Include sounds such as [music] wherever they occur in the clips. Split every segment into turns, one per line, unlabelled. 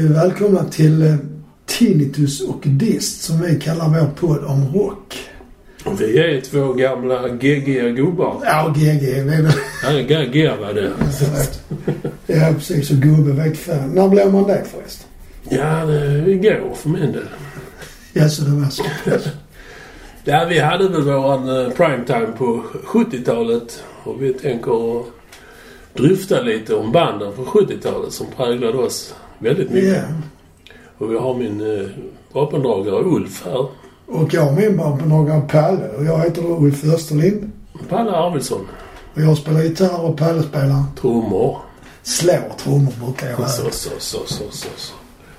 välkomna till eh, Tinnitus och Dist som vi kallar vår podd om rock.
Och vi är två gamla geggiga gubbar.
Ja, GG är det.
Nej, geggiga var det.
Ja, precis. Och gubbe vet fan. När blev man det förresten?
Ja, det går för min del.
Ja, så det var så.
Ja, vi hade väl våran eh, primetime på 70-talet och vi tänker dryfta lite om banden från 70-talet som präglade oss väldigt mycket.
Ja.
Och vi har min eh, vapendragare Ulf här.
Och jag och min barnpendragare Palle och jag heter då Ulf Österlind.
Palle Arvidsson.
Och jag spelar gitarr och Palle spelar
Trummor.
slår trummor brukar jag göra.
Så, så, så, så, så, så.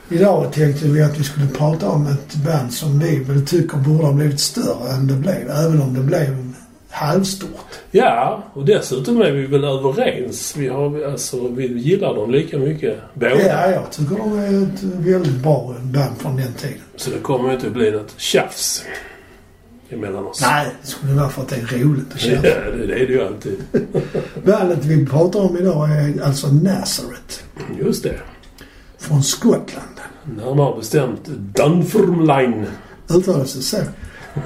Idag tänkte vi att vi skulle prata om ett band som vi väl tycker borde ha blivit större än det blev. Även om det blev halvstort.
Ja, och dessutom är vi väl överens. Vi, har, alltså, vi gillar dem lika mycket båda.
Ja, jag tycker de är ett väldigt bra band från den tiden.
Så det kommer ju inte att bli något tjafs emellan oss.
Nej, det skulle vara för att det är roligt att
[laughs] Ja,
köra.
det, det är det ju alltid.
Bandet vi pratar om idag är alltså Nazareth
Just det.
från Skottland.
Närmare bestämt Dunfermline.
Uttalas det så?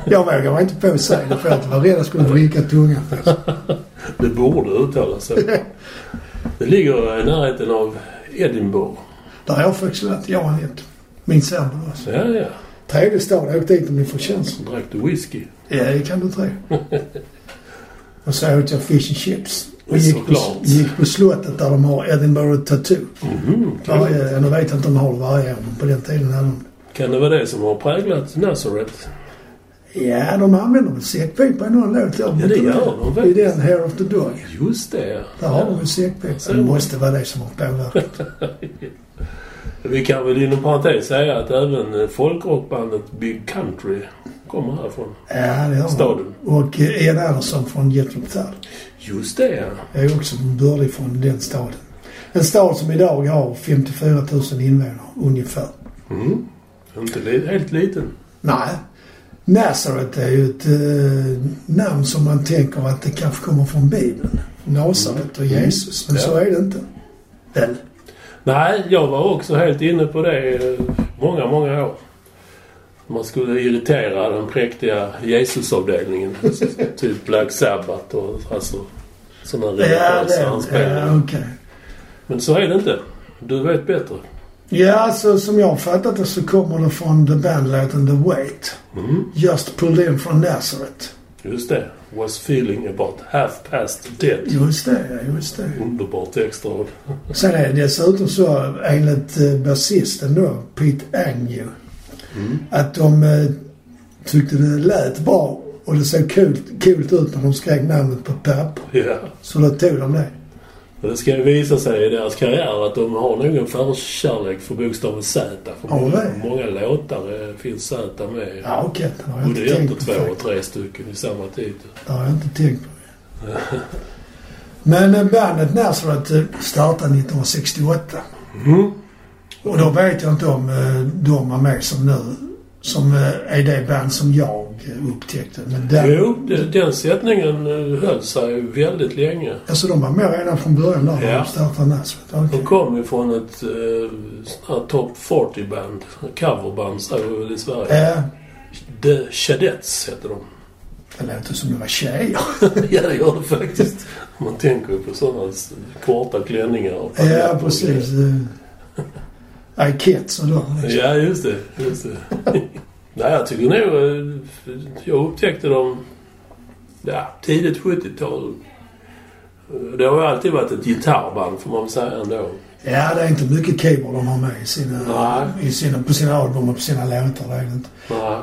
Jag vågar inte på att säga det för att jag var rädd att jag skulle vricka tungan.
Det borde uttalas så. Det ligger i närheten av Edinburgh.
Där har jag faktiskt lärt jag och Anette. Min sambo alltså.
Så ja, ja.
Trevlig stad. Jag åkte dit om ni får chansen.
Drack du whisky?
Ja, det kan du tro. Och så åt jag fish and chips. Och gick på,
Såklart.
gick på slottet där de har Edinburgh Tattoo.
Mhm. Kan,
Varje, nu vet jag inte om de har det varje år, men på den tiden hade de
kan det vara det som har präglat Nazareth?
Ja, de använder väl säckpipa i någon låt.
Ja, det gör de
I
väl.
den Hair of the Dog.
Just det,
Där har de en säckpipa.
Så.
Det måste vara det som har
[laughs]
påverkat.
Vi kan väl inom parentes säga att även eh, folkrockbandet Big Country kommer härifrån.
Ja, det gör de.
Staden.
Och eh, Ed Anderson från Jethro Tull
Just det, ja.
är också bördig från den staden. En stad som idag har 54 000 invånare, ungefär.
Mm. Inte li- helt liten.
Nej. Nazareth är ju ett eh, namn som man tänker att det kanske kommer från Bibeln. Nasaret och Jesus. Men
Mm. Ja.
så är det inte. Väl?
Nej, jag var också helt inne på det eh, många, många år. Man skulle irritera den präktiga Jesusavdelningen. [laughs] typ Black Sabbath och alltså sådana
Ja, det
religiösa
är
anspelningar.
ja, okej.
Men så är det inte. Du vet bättre.
Ja, alltså som jag har fattat det så kommer det från The Band-låten The Wait.
Mm.
Just pulled in från Nazareth.
Just det. Was feeling about half past dead.
Just det, ja, just det.
Underbart textrad.
Sen är det dessutom så, enligt eh, basisten då, Pete Agnew, att de eh, tyckte det lät bra och det såg kul, kul ut när de skrev namnet på papper.
Ja.
Så då tog de det.
Och det ska ju visa sig i deras karriär att de har nog en förkärlek för bokstaven Z. För
Har de
många,
det?
många låtar eh, finns Z med.
Ja, okej. det har jag
Både
inte
ett
tänkt
och
på.
två och
faktiskt.
tre stycken i samma titel.
Det har jag inte tänkt på. Men eh, bandet Nazareth eh, startade 1968.
Mm.
Och då vet jag inte om eh, de var med som nu, som eh, är det band som jag eh, upptäckte. Men där,
Jo, de- den sättningen eh, höll sig väldigt länge.
alltså de var med redan från början där när
Ja.
de startade Nazareth.
De
Okay.
kom ju från ett eh, sånt här top 40-band, coverband säger vi väl i Sverige.
Eh,
The Chadettes heter de. [laughs]
det låter som det var tjejer.
ja, det gör det faktiskt. Man tänker ju på sådana s- korta klänningar. och
ja,
paljetter.
precis. Eh, I Kids och de. Liksom.
Ja, just det. Just det. Nej, jag tycker nog... eh, Jag upptäckte dem ja, tidigt 70-tal. Det har ju alltid varit ett gitarrband, får man väl säga ändå.
Ja, det är inte mycket keyboard de har med i sina,
Nej.
i sina, på sina album och på sina låtar. Det är det inte.
Nej.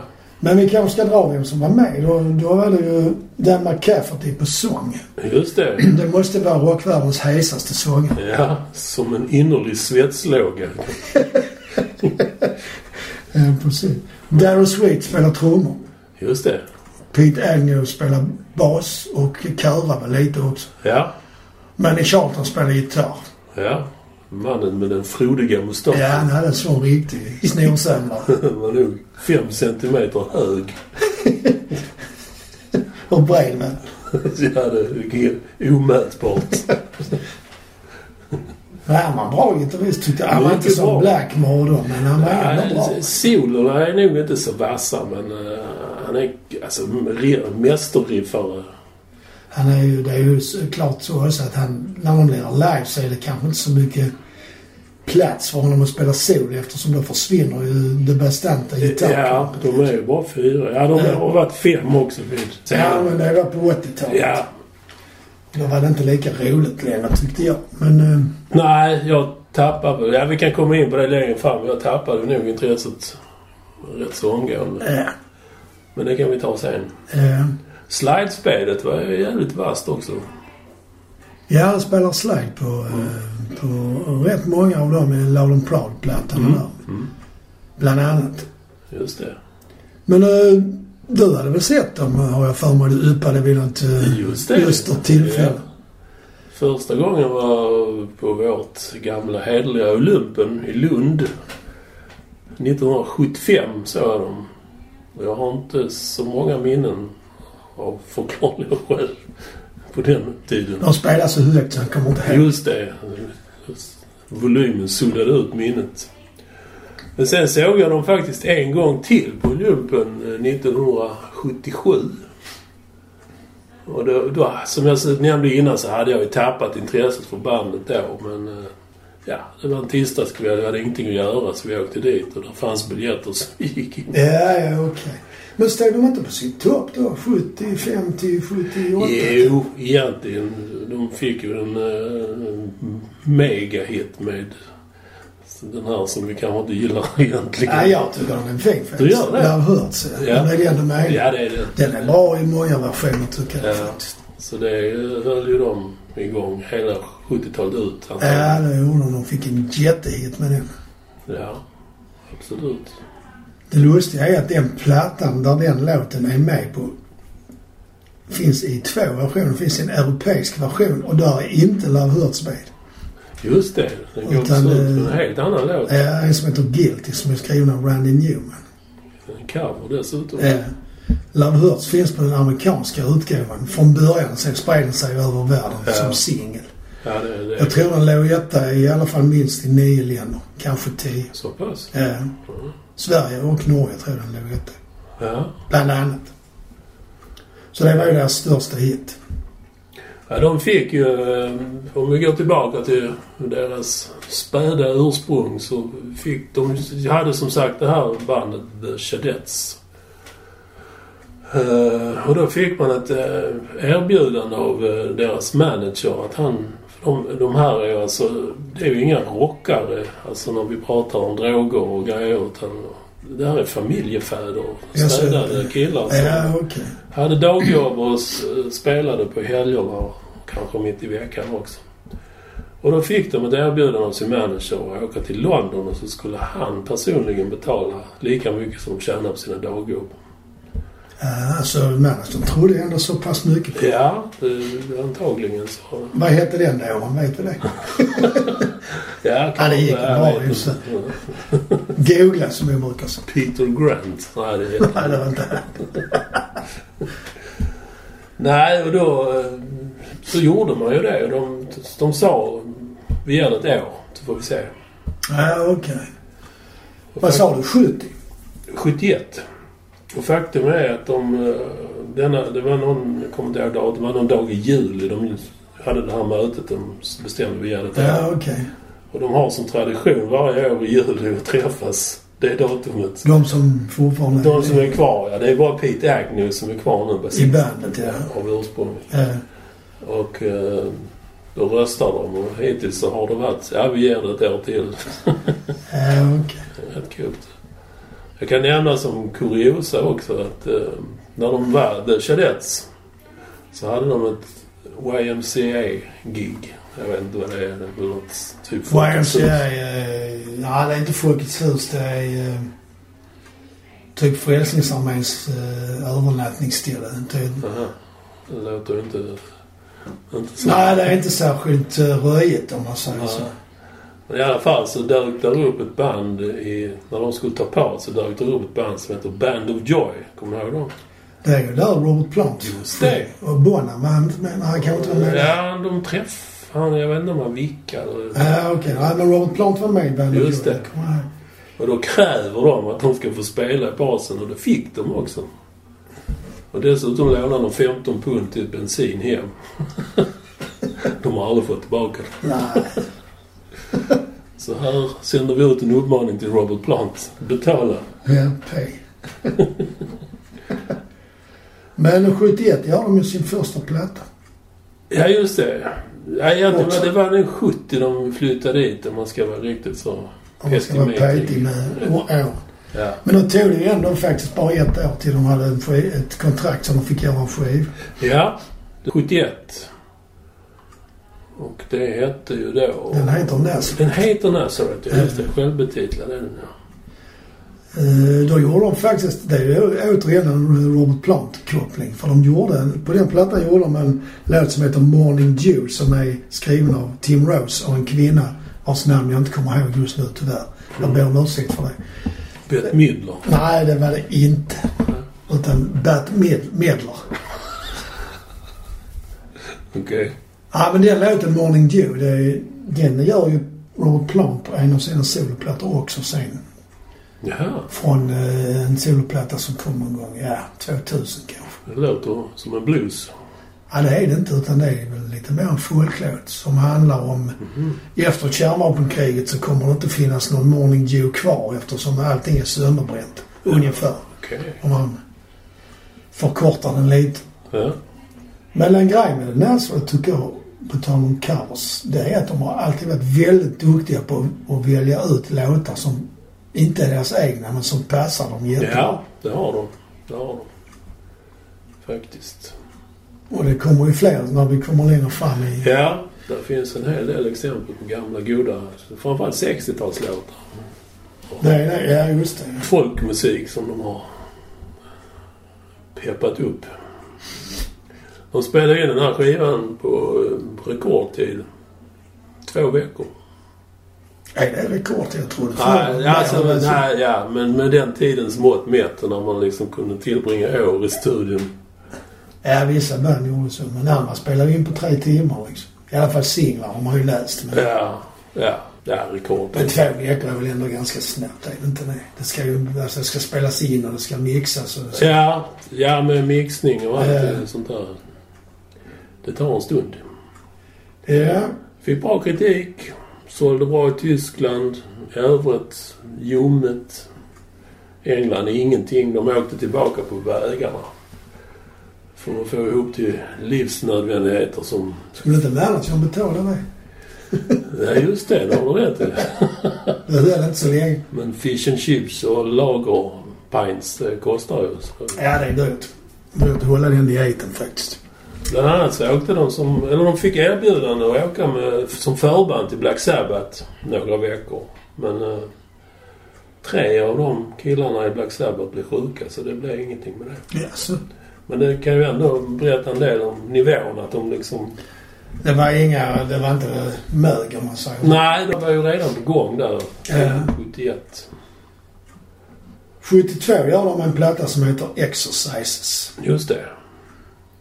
Men vi kanske ska dra vem som var med. Då, då var det ju Dan McCafferty på sång. [clears throat]
Just det.
Det måste vara rockvärldens hesaste sångare.
Ja, som en innerlig svetslåga.
Ja, precis. Daryl Sweet spelar trummor.
Just det.
Pete Agnew spelar bas och körar väl lite också.
Ja,
Manny Charlton spelar gitarr.
ja. Mannen med den frodiga mustaschen.
Ja,
[laughs]
han hade en sån riktig snorsamlare.
var nog fem centimeter hög. [laughs]
Och bred med.
Ja, det är omätbart.
Nej, han var en bra gitarrist tyckte jag. Han var
Mycket
inte som
bra.
Blackmore då, men han var ändå bra.
Nej, Solorna är nog inte så vassa men eh, han är alltså re- mästerriffare.
Han är ju, det är ju så- klart så också att han, när man blir live så är det kanske inte så mycket plats för honom att spela solo eftersom då försvinner ju det bestanta
Ja,
gitarrkompet.
de är ju bara fyra. Ja, de
Ja.
har varit fem också vid
Ja, men det var på 80-talet.
Ja.
Då var det inte lika roligt längre tyckte jag. Men eh,
Nej, jag tappade... Ja, vi kan komma in på det längre fram. Jag tappade nog intresset rätt så omgående.
ja.
Men det kan vi ta sen.
eh,
Slidespelet var ju jävligt vasst också.
ja, han spelar slide på, eh, på rätt många av dem i Loud and Proud-plattan
Mm.
där. Bland annat.
Just det.
Men eh, du hade väl sett dem har jag för mig. Du yppade vid något eh,
Just det.
just tillfälle.
Ja. Första gången var på vårt gamla hederliga Olympen i Lund. 1975 såg jag dem. Och Jag har inte så många minnen av förklarliga skäl på den tiden.
De spelar så högt så han kommer inte ihåg.
[laughs] Just det. Volymen suddade ut minnet. Men sen såg jag dem faktiskt en gång till på lumpen eh, 1977. Och då, då, som jag nämnde innan så hade jag ju tappat intresset för bandet då. Men eh, ja, det var en tisdagskväll. Jag hade ingenting att göra så vi åkte dit och där fanns biljetter som [laughs] vi gick in.
Ja, ja, okej. Men stod de inte på sin topp då? 70, 50, 78?
Jo, E egentligen. De fick ju en uh, megahit med den här som vi kanske inte gillar [laughs] egentligen.
Nej, jag tycker den är fin faktiskt.
Du gör det?
Jag har hört så.
Ja.
Men det är ändå möjligt.
Ja, det är det.
Den är bra i många versioner tycker jag
Ja.
faktiskt.
Så det eh, höll ju dem igång hela 70-talet ut. alltså.
Ja, det gjorde de. De fick en jättehit med den.
ja, absolut.
Det lustiga är att den plattan där den låten är med på finns i två versioner. Det finns en europeisk version och där är inte Love Hurts med.
Just det, den går
Utan,
slut på
eh,
en helt annan låt.
Det är en som heter Guilty som är skriven av Randy Newman.
En cover dessutom.
Eh, Love Hurts finns på den amerikanska utgåvan från början. Sen spred den sig över världen
Ja.
som singel.
Ja, det, det
Jag tror den låg etta i alla fall minst i nio länder. Kanske tio.
så pass.
Eh, Sverige och Norge tror jag den låg etta.
Ja.
Bland annat. Så det var ju deras största hit.
Ja, de fick ju, eh, om vi går tillbaka till deras späda ursprung så fick de, hade som sagt det här bandet The Chadettes. Eh, och då fick man ett eh, erbjudande av eh, deras manager att han, de, de här är ju alltså, det är ju inga rockare, alltså när vi pratar om droger och grejer utan det här är familjefäder,
Jag ser
städade
det.
killar som-
Ja, okej.
hade dagjobb och s- spelade på helgerna och kanske mitt i veckan också. Och då fick de ett erbjudande av sin manager att åka till London och så skulle han personligen betala lika mycket som de tjänade på sina dagjobb.
Ja, alltså managern trodde ändå så pass mycket på
Ja, det, antagligen så.
Vad hette den då? Man vet väl det?
Ja,
Ja, det gick
kanske, jag
bra,
vet
just
inte.
Googla som vi brukar säga.
Peter Grant. Nej, det heter
[laughs] Nej, det var inte det.
Nej, och då eh, så gjorde man ju det. De, de sa vi ger det ett år så får vi se.
Ja, okej. Vad sa du? 70?
71. Och faktum är att de... eh, Denna, det var någon, jag kommer inte ihåg dag, det var någon dag i juli de hade det här mötet. De bestämde vi hade det.
Ja, okej.
Och de har som tradition varje år i juli att träffas det datumet.
De som fortfarande
De som är kvar, ja. Det är bara Pete Agnew som är kvar nu.
i
basit-
bandet, ja.
Av ursprunget.
Ja.
Och eh, då röstar de och hittills så har det varit ja vi ger det ett år till.
Ja, okej.
Rätt kul. Jag kan nämna som kuriosa också att eh, när de var The Chadettes så hade de ett YMCA-gig. Jag vet inte vad det är. Det är väl något typ Folkets hus.
YMCA, eh, nej det är inte Folkets hus. Det är eh, typ Frälsningsarméns eh, övernattningsställe. Det är-
Aha. Det låter ju inte, inte så.
Nej, det är inte särskilt eh, röjigt om man säger
Nej.
så.
Men i alla fall så dök där upp ett band i, när de skulle ta på så dök där upp ett band som heter Band of Joy. Kommer du ihåg dem?
Det är ju där Robert Plant.
Just det.
Och Bonham, han, men han kanske inte var med.
Ja, de träff... fan, jag vet inte om han vickade. eller-
Ja, okej. Nej, men Robert Plant var med i Bandit
Just det.
Rock. Nej.
Och då kräver de att de ska få spela i basen och det fick de också. Och dessutom lånade de 15 pund till bensin hem. [laughs] de har aldrig fått tillbaka det.
Nej.
Så här sänder vi ut en uppmaning till Robert Plant. Betala.
VP. [laughs] Men 71 gör de ju sin första platta.
Ja, just det. Ja, egentligen var det var den 70 de flyttade dit om man ska vara riktigt så
Om man ska vara petig med och år.
Ja.
Men då tog det ju ändå faktiskt bara ett år till de hade en skiv, ett kontrakt som de fick göra en skiv.
ja, 71. Och det hette ju då...
Den heter Nas.
Den heter Nazareth, ja. Just det. Självbetitlad är den. ja.
Eh, Då gjorde de faktiskt, det är ju återigen en Robert Plant-koppling. För de gjorde, en- på den plattan gjorde de en låt som heter Morning Dew som är skriven av Tim Rose och en kvinna vars namn jag inte kommer ihåg just nu tyvärr. Jag ber om ursäkt för det.
Bett Midler.
Nej, det var det inte. Utan Bert Med- Medler.
Okej.
Ja, men den låten Morning Dew, det, är- den gör ju Robert Plant på en av sina soloplattor också sen.
Jaha,
Från eh, en soloplatta som kom någon gång, ja, 2000 kanske.
det låter som en blues.
Ja, det är det inte utan det är väl lite mer en folklåt som handlar om... Efter kärnvapenkriget så kommer det inte finnas någon Morning Dew kvar eftersom allting är sönderbränt. Ungefär.
Okej.
Om man förkortar den lite.
Ja.
Men en grej med Nazareth tycker jag, på tal om covers, det är att de har alltid varit väldigt duktiga på att välja ut låtar som inte är deras egna men som passar dem jättebra.
ja, det har de. Det har de. Faktiskt.
Och det kommer ju fler när vi kommer längre fram i...
Ja, där finns en hel del exempel på gamla goda, framförallt 60-talslåtar.
Nej, nej, ja just det.
Folkmusik som de har peppat upp. De spelade in den här skivan på eh, rekordtid. Två veckor.
Nej, det är rekord jag trodde.
Nej, alltså, men, nej, ja, men med den tidens mått mätt när man liksom kunde tillbringa år i studion.
Ja, vissa band gjorde så. Men andra spelar ju in på tre timmar liksom. I alla fall singlar har man ju läst. Men,
Ja, ja, det är rekord.
men två veckor är väl ändå ganska snabbt, är det inte det? Det ska ju alltså, det ska spelas in och det ska mixas och det ska...
Ja, ja, med mixning och allt
Ja.
sånt där. Det tar en stund.
Ja,
Fick bra kritik. Sålde bra i Tyskland. I övrigt ljummet. England är ingenting. De åkte tillbaka på vägarna. För att få ihop till livsnödvändigheter som...
skulle inte managern betala det?
Ja, just det. Det har du rätt i.
Det höll inte så länge.
Men fish and chips och lager pints det kostar ju. Så.
Ja, det är dyrt. Dyrt att hålla den dieten faktiskt.
Bland annat så åkte de som, eller de fick erbjudande att åka med, som förband till Black Sabbath några veckor. Men eh, tre av de killarna i Black Sabbath blev sjuka så det blev ingenting med det.
Jaså?
Men det kan ju ändå berätta en del om nivån att de liksom...
Det var inga... Det var inte mög om man säger.
Nej, de var ju redan på gång där.
Ja.
71.
72 gör de en platta som heter Exercises.
Just det.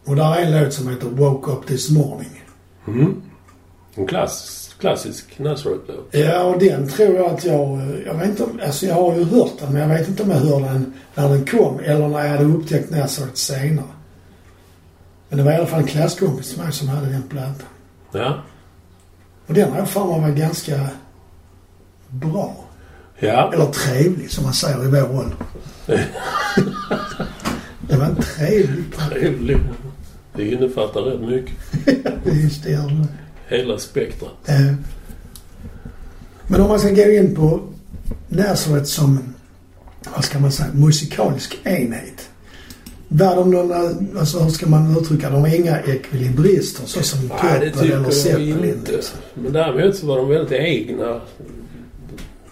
Och där är en låt som heter Woke Up This Morning.
Mm. En klass, klassisk Nazareth-låt.
Ja, och den tror jag att jag... Jag vet inte om... Alltså jag har ju hört den, men jag vet inte om jag hörde den när den kom eller när jag hade upptäckt Nazareth senare. Men det var i alla fall en klasskompis till mig som hade den plattan.
Ja.
Och den har jag för mig var ganska bra.
Ja.
Eller trevlig, som man säger i vår
[laughs]
ålder. det var en trevlig platta.
Trevlig. Det innefattar rätt mycket.
Just det, gör det.
Hela spektrat.
Eh, Men om man ska gå in på Nazareth som, vad ska man säga, musikalisk enhet. Där de någon, alltså hur ska man uttrycka de har inga ekvilibrister så som
Nej, det
Peppel eller
tycker jag
Zeppelin. liksom.
inte. Men däremot så var de väldigt egna.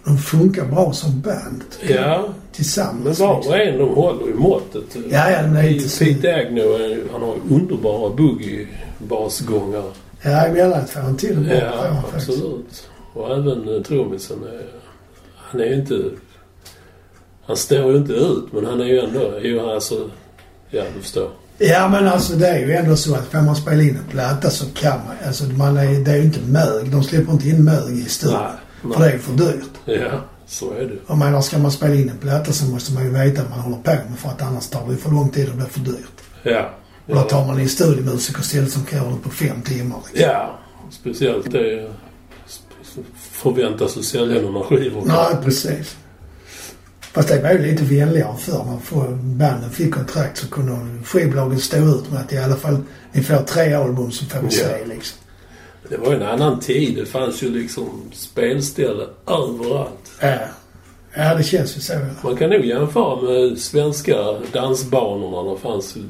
De funkar bra som band
Ja, men
tillsammans.
var
liksom.
och en de håller ju måttet.
Ja, ja, men det är inte så.
Pete Agnew, är ju- han har ju underbara boogie-basgångar.
Ja, emellanåt får han till det bra. får
Ja,
han faktiskt.
absolut. Och även eh, trummisen. eh, Han är ju inte... Han står ju inte ut, men han är ju ändå... Jo, alltså... Ja, du förstår.
Ja men alltså det är ju ändå så att får man spela in en platta så kan man alltså man är, det är ju inte mög. De släpper inte in mög i studion.
Nej,
För det är ju för dyrt.
Ja, så är det.
Jag menar ska man spela in en platta så måste man ju veta vad man håller på med för att annars tar det ju för lång tid och blir för dyrt.
Ja.
Och då tar man in studiomusiker istället som kan hålla på fem timmar. Liksom.
Ja, speciellt det sp- förväntas att sälja några skivor.
Nej precis. Fast det var ju lite vänligare förr när få- banden fick kontrakt så kunde skivbolagen stå ut med att i alla fall ni får tre album så får vi se
Ja.
liksom.
Det var en annan tid. Det fanns ju liksom spelställe överallt.
Ja. Äh, ja det känns ju så. ja.
Man kan nog jämföra med svenska dansbanorna. Det fanns ju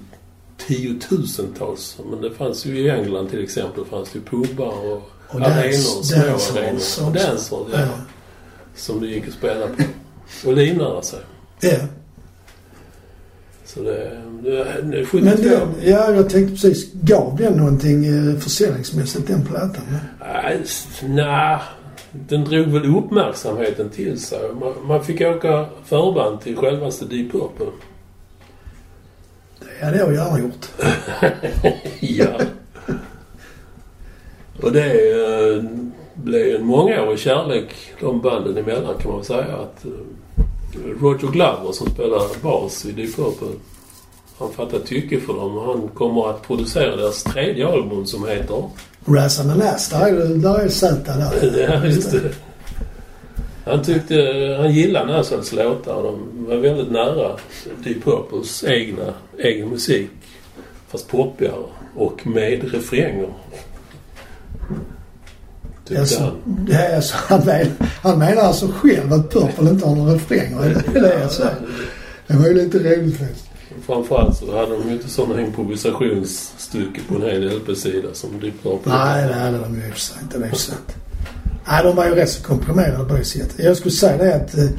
tiotusentals. Men det fanns ju i England till exempel. Det fanns ju pubar och,
Och
arenor.
dans-
Små
dancehall
arenor.
också.
Och dancehall, ja.
Ja.
Som det gick att spela på. Och livnära sig.
Ja.
Så det... det, det
Men
72.
den, ja, jag tänkte precis. Gav den någonting eh, försäljningsmässigt den plattan?
Nej, s- Alltså, nja, den drog väl uppmärksamheten till sig. Man, man fick åka förband till självaste Deep Purple.
Det hade jag gärna gjort.
Ja. Och det eh, blev en mångårig kärlek de banden emellan kan man väl säga. Att eh, Roger Glover som spelar bas i Deep Purple, han fattar tycke för dem. Han kommer att producera deras tredje album som heter
Razz and Alas, där är, där är Zäta där.
[laughs] Ja, just det. Han tyckte, han gillade Nassauls låtar och de var väldigt nära Deep Purples egna, egen musik. Fast poppigare och med refränger. Tyckte
Alltså, [laughs]
han.
det är alltså, han, men, han menar alltså själv att Purple inte har några refränger. Det är det jag säger. Det var ju lite roligt faktiskt.
Framförallt så hade de ju inte sådana improvisationsstycke på en hel LP-sida som Deep Purple.
Nej, det hade de ju i och för sig inte. Det är ju sant. Nej, de var ju rätt så komprimerade på det sättet. Jag skulle säga det att eh,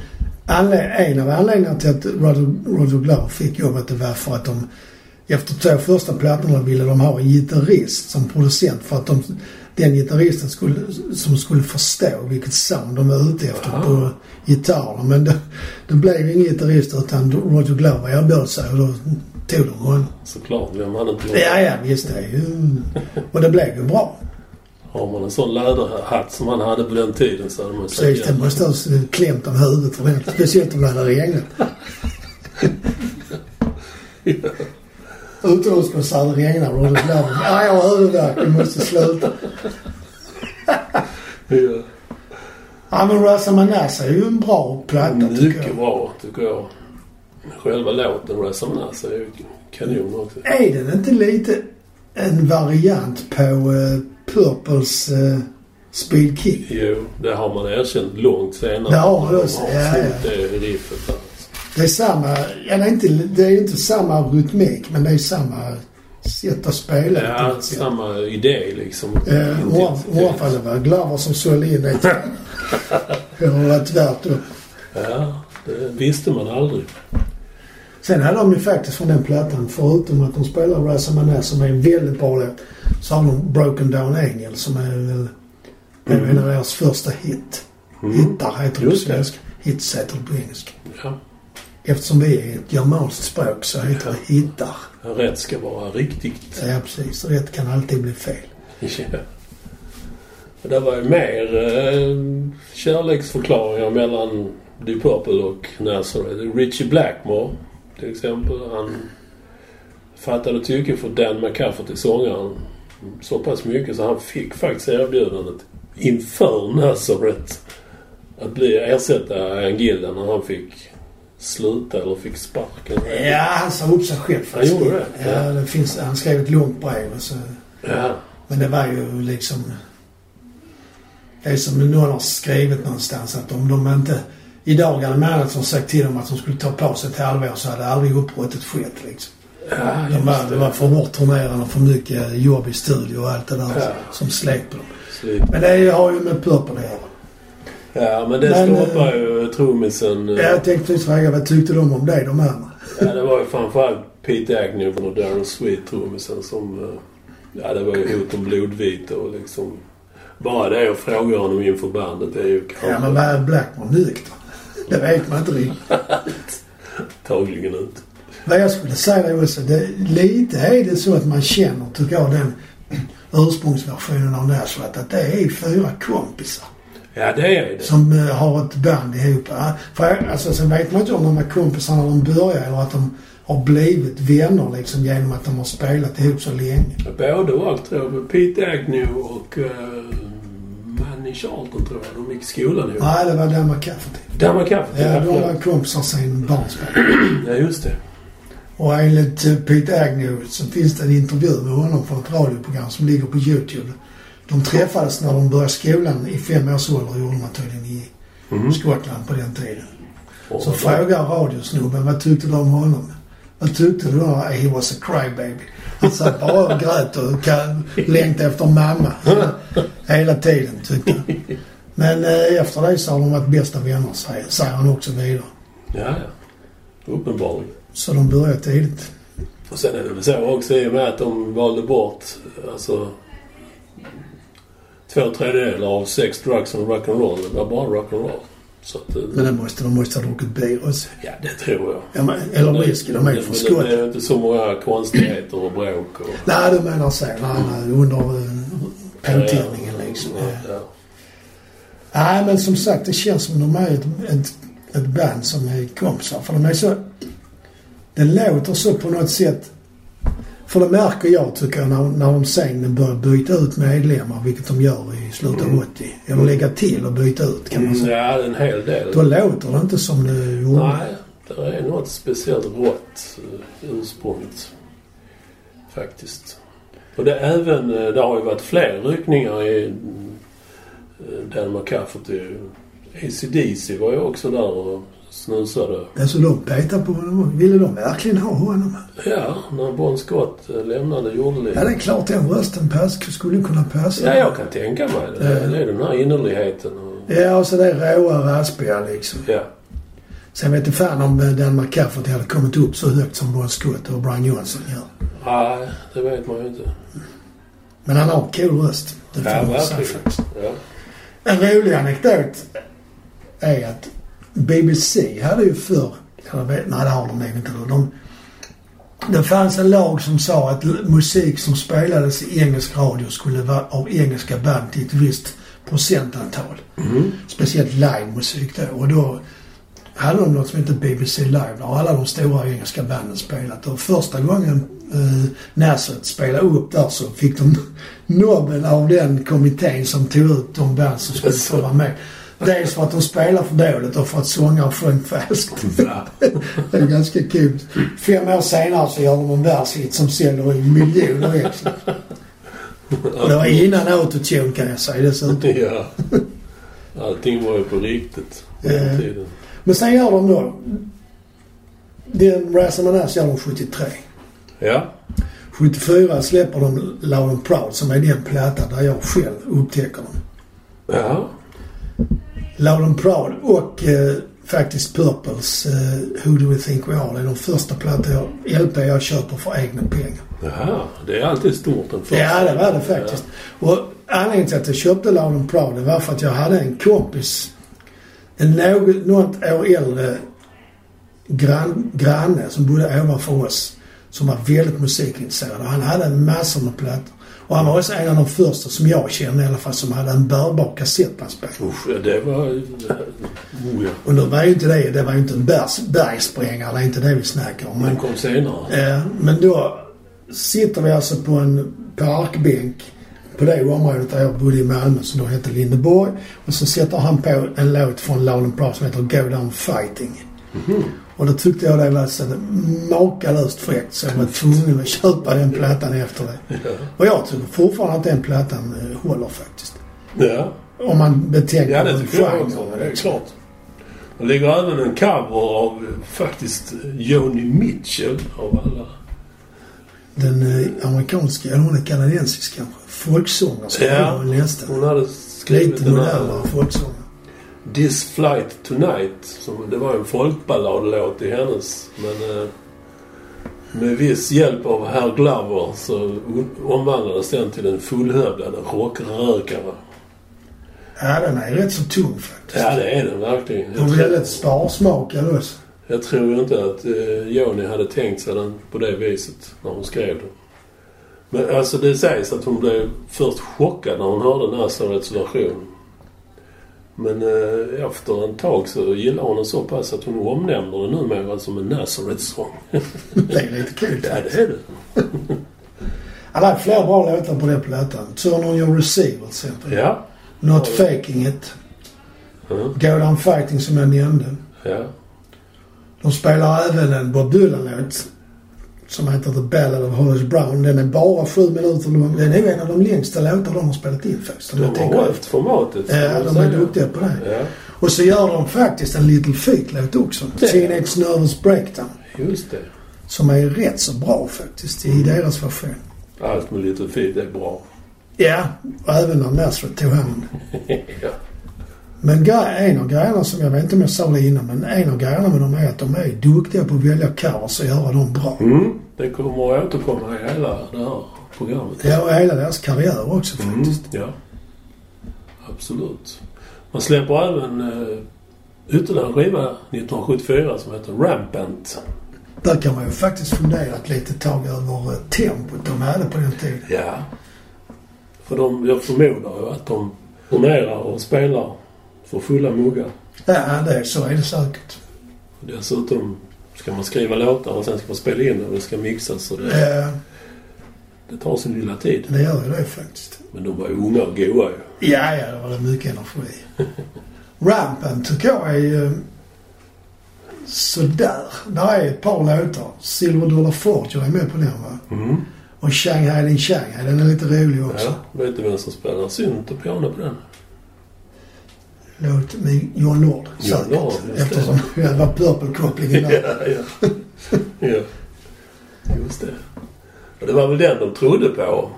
anle- en av anledningarna till att Roger, Roger Glover fick jobbet det var för att de efter två första plattorna ville de ha en gitarrist som producent för att de, den gitarristen skulle, som skulle förstå vilket sound de var ute efter
Aha.
på gitarren. Men det, det blev ingen gitarrist utan Roger Glover erbjöd sig och då tog de honom.
Såklart, vem hade inte gjort det?
Ja, ja, visst det är ju... Och det blev ju bra.
Har man en sån läderhatt som han hade på den tiden så hade man
Precis, det måste ha klämt om huvudet ordentligt. Speciellt om det hade regnat. Utomhuskonserter regnar och det blir... Nej, jag har huvudvärk. Vi måste sluta.
Ja.
Ja, men Rasa Manassa är ju en bra platta tycker
Mycket
jag.
bra, tycker jag. Själva låten Resonance är ju kanon också.
Är den inte lite en variant på eh, Purples eh, Speed Kick?
Jo, det har man erkänt långt senare.
Det har
De
det också, ja, ja.
snott det riffet där.
Det är samma... Ja, det är inte, det är inte samma rytmik, men det är samma sätt att spela på
Ja,
något sätt.
samma idé liksom.
Eh, Ovanför var Glover som sålde in
[laughs]
det. Det har varit värt det.
Ja, det visste man aldrig.
Sen hade de ju faktiskt från den plattan, förutom att de spelar Razamanas som är en väldigt bra låt, så har de Broken Down Angel som är väl mm. en av deras första hit. Hittar heter det på
Mm. Just det.
svenska. Hits heter det på engelska.
Ja,
Eftersom vi är ett germanskt språk så heter det hittar.
rätt ska vara riktigt.
Ja, precis. Rätt kan alltid bli fel.
Ja. Det var ju mer eh, kärleksförklaringar mellan Deep Purple och Nazareth. Richie Blackmore till exempel. Han fattade tycke för Dan McCafferty, sångaren, så pass mycket så han fick faktiskt erbjudandet inför Nazareth att bli ersätta Angilda när han fick sluta eller fick sparken.
Ja, han sa upp sig själv
Han gjorde det?
Ja, det finns, han skrev ett långt brev och så
Ja.
Men det var ju liksom... Det är som någon har skrivit någonstans att om de inte... Idag hade managen sagt till dem att de skulle ta på sig ett halvår så hade aldrig uppbrottet skett liksom.
Ja,
De
just
var, det var för hårt turnerande och för mycket jobb i studio och allt det där
Ja.
som slet på dem.
Slut.
Men det har ju med Purple att göra.
Ja, men det
Men, eh,
stoppar ju trummisen. eh,
Jag tänkte precis fråga vad tyckte de om det, de andra?
Ja, det var ju framförallt Pete Agnew och Darren Sweet trummisen som... eh, Ja, det var ju hot om blodvite och liksom... Bara det att fråga honom inför bandet det är ju
Ja, men
kanske
var [laughs] Blackmore nykter? Det vet man inte riktigt.
antagligen inte.
Vad jag skulle säga är också, det, lite är det så att man känner, tycker jag, den ursprungsversionen av Nashville, att det är fyra kompisar
Ja, det är det.
som eh, har ett band ihop. Ja, För, jag- alltså, sen vet man inte om de här kompisarna de börjar eller att de har blivit vänner liksom genom att de har spelat ihop så länge.
Både och tror jag. Pete Agnew och uh, Manny Charlton tror jag. De gick i skolan ihop.
Nej, det var Danmark Kaffe till.
Dermot Capital.
Ja, de var kompisar sen barnsben.
ja, just det.
Och enligt eh, Pete Agnew så finns det en intervju med honom från ett radioprogram som ligger på YouTube. De träffades när de började skolan i fem års ålder, gjorde man tydligen i
Mm.
Skottland på den tiden.
Och-
Så frågar radiosnubben vad tyckte du om honom? Vad tyckte du om He was a crybaby. Han satt bara och grät och ka- längtade efter mamma. Hela tiden tyckte han. Men eh, efter det så har de varit bästa vänner säger, säger han också vidare.
Ja, ja. Uppenbarligen.
Så de började tidigt.
Och sen är det väl så också i och med att de valde bort alltså två tredjedelar av sex, drugs and rock'n'roll. Det var bara rock'n'roll. Så att, eh,
Men det måste, de måste ha druckit bier också.
ja det tror jag.
Ja, men- Eller whisky, de är ju
Men
från
det
Skottland.
blev inte så många konstigheter och bråk och...
Nej, du menar så. när han, eh, Under eh, påtändningen liksom. Ja.
Ja.
Nej, men som sagt, det känns som de är ett, ett, ett band som är kompisar. För de är så... Det låter så på något sätt. För det märker jag, tycker jag, när, när de sen börjar byta ut medlemmar, vilket de gör i slutet av 80. Eller lägga till och byta ut, kan man
Mm,
säga.
ja, en hel del.
Då låter det inte som det gjorde.
Nej, det är något speciellt rått eh, ursprungligt. Faktiskt. Och det, är även, eh, det har ju varit fler ryckningar i eh, Danmark Cafferty. ACDC var ju också där och snusade.
Alltså de petar på honom. Ville de verkligen ha honom?
Ja, när Bon Scott eh, lämnade
Ja, det
jordelivet.
är klart den rösten pass, skulle kunna passa.
Ja, jag kan tänka mig det. Det är den här innerligheten. Och,
Ja, och så det är råa, raspiga liksom.
ja.
Sen vet inte fan om eh, Danmark Cafferty hade kommit upp så högt som Bon Scott och Brian Johnson gör.
Nej, det vet man ju inte.
Men han har cool röst. Det
Ja,
får man säga
verkligen.
faktiskt.
Ja.
En rolig anekdot är att BBC hade ju förr, eller vet- nej det har de nog inte då. De, det fanns en lag som sa att l- musik som spelades i engelsk radio skulle vara av engelska band till ett visst procentantal.
Mm.
Speciellt livemusik då. Och då hade de något som hette BBC Live. Där alla de stora engelska banden spelat. Och första gången eh, Nasset spelade upp där så fick de [laughs] nobben av den kommittén som tog ut de band som skulle få vara med. Dels för att de spelar för dåligt och för att sångaren sjöng falskt.
Va?
[laughs] Det är ganska kul. Fem år senare så gör de en världshit som säljer i miljoner ex. Och det var innan autotune kan jag säga dessutom.
[laughs] Ja. Allting var ju på riktigt på den
Eh.
tiden.
Men sen gör de då... Den Razz Ass gör de 73.
Ja. 74
74 släpper de Loud and Proud som är den platta där jag själv upptäcker dem.
Ja.
Loud and Proud och eh, faktiskt Purples eh, Who Do We Think We Are. Det är de första plattor jag, LP jag köper för egna pengar.
Jaha, det är alltid stort den första.
Ja, det var det faktiskt. Och anledningen till att jag köpte Loud and Proud det var för att jag hade en kompis, en något, något år äldre grann, granne som bodde ovanför oss som var väldigt musikintresserad. Och Han hade en massa med plattor. Och han var också en av de första som jag kände i alla fall som hade en bärbar kassettbandspelare.
Ja. Usch, ja, det var... Oh, ja.
Och nu var ju inte det, det var ju inte en bergs- bergsprängare, det är inte det vi snackar om. Men
Den kom senare.
Eh, Men då sitter vi alltså på en parkbänk på det området där jag bodde i Malmö som då hette Lindeborg. Och så sätter han på en låt från Loud and Proud som heter Go Down Fighting.
Mhm.
Och då tyckte jag det var så makalöst fräckt så jag var tvungen att köpa den plattan efter det. Och jag tycker fortfarande att den plattan eh, håller faktiskt.
Ja,
Om man betänker
ja det
den
tycker jag också.
genren.
Det är klart. Det ligger även en cover av eh, faktiskt Joni Mitchell av alla.
Den eh, amerikanska, eller hon är kanadensisk kanske, folksångerskan
Ja.
ja. nästan.
Hon hade
Lite
skrivit den här
modernare folksångare.
This Flight Tonight. Som, det var en folkballadlåt i hennes. Men eh, med viss hjälp av herr Glover så un- omvandlades den till en fullhövdad rockrökare.
Ja, den är rätt så tung faktiskt.
Ja, det är den verkligen.
Och väldigt sparsmakad också. [laughs]
Jag tror inte att eh, Joni hade tänkt sig den på det viset när hon skrev den. Men alltså det sägs att hon blev först chockad när hon hörde Nazarets version. Men eh, efter en tag så gillar hon den så pass att hon omnämner den numera som en Nazareth-sång.
Det är lite kul.
Ja, det är det.
Han hade flera bra låtar på den plattan. Turn on your receiver till exempel.
Ja.
Not faking it.
Mm.
Go down fighting som jag nämnde.
Ja.
De spelar även en Bob Dylan-låt som heter The Ballad of Hollis Brown. Den är bara sju minuter lång. Den är en av de längsta låtar de har spelat in faktiskt. om
De
jag tänker
har hållit
efter.
formatet. ska
Ja,
man
de
säga.
är duktiga på det.
Ja,
Och så gör de faktiskt en Little Feet-låt också.
Det.
Teenage Nervous Breakdown.
just det.
Som är rätt så bra faktiskt i deras version.
Allt med lite fint är bra. [laughs]
Ja, och även när Nasrat tog hand.
ja.
Men gre- en av grejerna som jag vet inte om jag sa det innan, men en av grejerna med dem är att de är duktiga på att välja covers och göra dem bra.
Mm. Det kommer att återkomma i hela det här programmet.
Ja, och hela deras karriär också faktiskt.
Mm. Ja. Absolut. Man släpper även eh, ytterligare en skiva 1974 som heter Rampant.
Där kan man ju faktiskt fundera ett litet tag över eh, tempot de hade på den tiden.
Ja. För de, jag förmodar ju att de turnerar och spelar för fulla muggar.
Ja, det, så är det säkert.
Dessutom ska man skriva låtar och sen ska man spela in och det ska mixas och det,
Eh,
det tar sin lilla tid.
det gör ju det faktiskt.
Men de var ju unga och goa ju.
Ja, ja, det var det mycket energi. Rampen tycker jag är ju sådär. Där är ett par låtar. Silver Dollar Fortune är med på den va?
Mm.
Och Shanghai Din Shanghai, den är lite rolig också.
Ja, vet du vem som spelar synt och piano på den?
Låt mig John Lord
John
säkert.
Lord, just det.
eftersom det var Purple-kopplingen där.
ja, ja. ja. Just det. Och det var väl den de trodde på.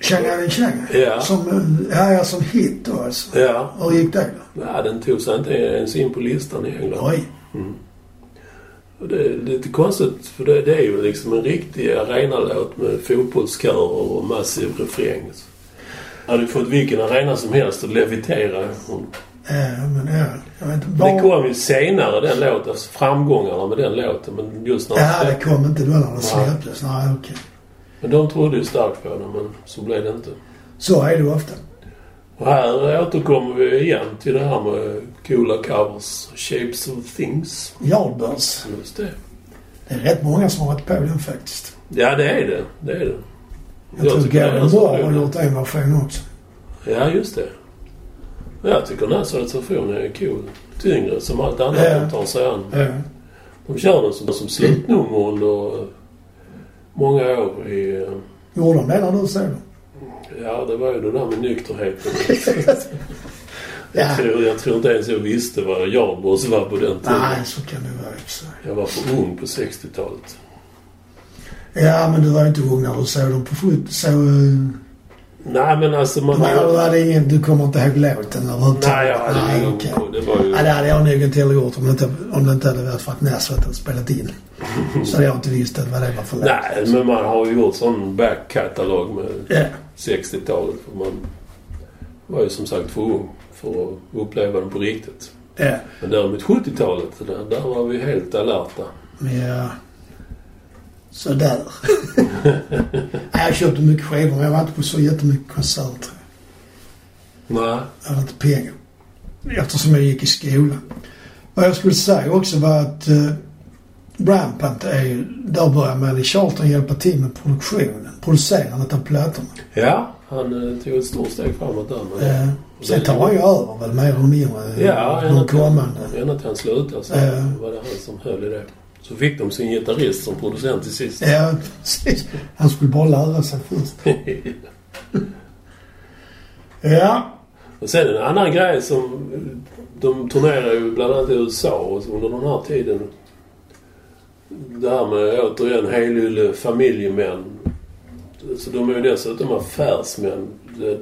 Shanghai Din Shanghai.
Ja.
Som, eh, ja, ja, som hit då alltså.
Ja.
Hur gick det då?
Nej, den tog sig inte ens in på listan i England.
Oj.
Och det är lite konstigt för det, det är ju liksom en riktig arenalåt med fotbollskörer och massiv refräng. Hade ju fått vilken arena som helst att levitera.
Eh, men ja, jag vet inte.
Det
Var...
kom ju senare den låten, alltså framgångarna med den låten. Men just när
ja, det kom inte då när det
Nej.
släpptes. Nej, okej.
Men de trodde ju starkt på den, men så blev det inte.
Så är det ofta.
Och här återkommer vi igen till det här med coola covers, shapes of things.
Yardbirds.
Just det.
Det är rätt många som har varit på den faktiskt.
Ja, det är det. Det är det.
Jag, tror
tycker
Gavin
Nazareth-
Barr har gjort en version också.
Ja, just det. Jag tycker Nazarets version är cool. Tyngre, som allt annat
Ja.
de tar sig an.
Ja.
De kör den som, som slutnummer under eh, många år i... eh,
Gjorde de det när du såg
[laughs]
dem?
Ja, det var ju det där med nykterheten.
Ja.
jag, tror, jag tror inte ens jag visste vad Jarnbors var på den tiden.
Nej, så kan det vara i och för sig.
Jag var för ung på 60-talet.
Ja, men du var ju inte ung när du såg dem på fot. Så... eh,
Nej, men alltså man...
Men du, hade ingen, du kommer inte ihåg låten överhuvudtaget?
Nej, jag hade
Nej,
ingen
okej.
koll. Det var ju...
Ja, det hade jag nog inte heller gjort om det inte, om det inte hade varit för att Nasrat hade spelat
[laughs]
in. Så hade jag inte visst vad det var för låt.
Nej, men man har ju gjort sån backkatalog med
Ja.
60-talet. För man var ju som sagt för ung för att uppleva den på riktigt.
Ja.
Men däremot 70-talet, där, där var vi helt alerta.
Men jag... eh,
[laughs]
Sådär. Nej, jag köpte mycket skivor men jag var inte på så jättemycket konserter.
Nej.
Jag hade inte pengar. Eftersom jag gick i skolan. Vad jag skulle säga också var att eh, Rampant är ju... Där började Manny Charlton hjälpa till med produktionen. Producerandet av plattorna.
Ja, han eh, tog ett stort steg framåt där. Men...
Eh, sen tar han ju över väl mer eller mindre eh,
Ja,
de
ända
kommande.
till- ända till han slutade så
Ja.
var det han som höll i det. Så fick de sin gitarrist som producent till sist.
Ja, precis. Han skulle bara lära sig först.
[laughs]
Ja,
Och sen en annan grej som... De turnerar ju bland annat i USA och så under den här tiden. Det här med återigen helylle familjemän. Så de är ju dessutom affärsmän. Det,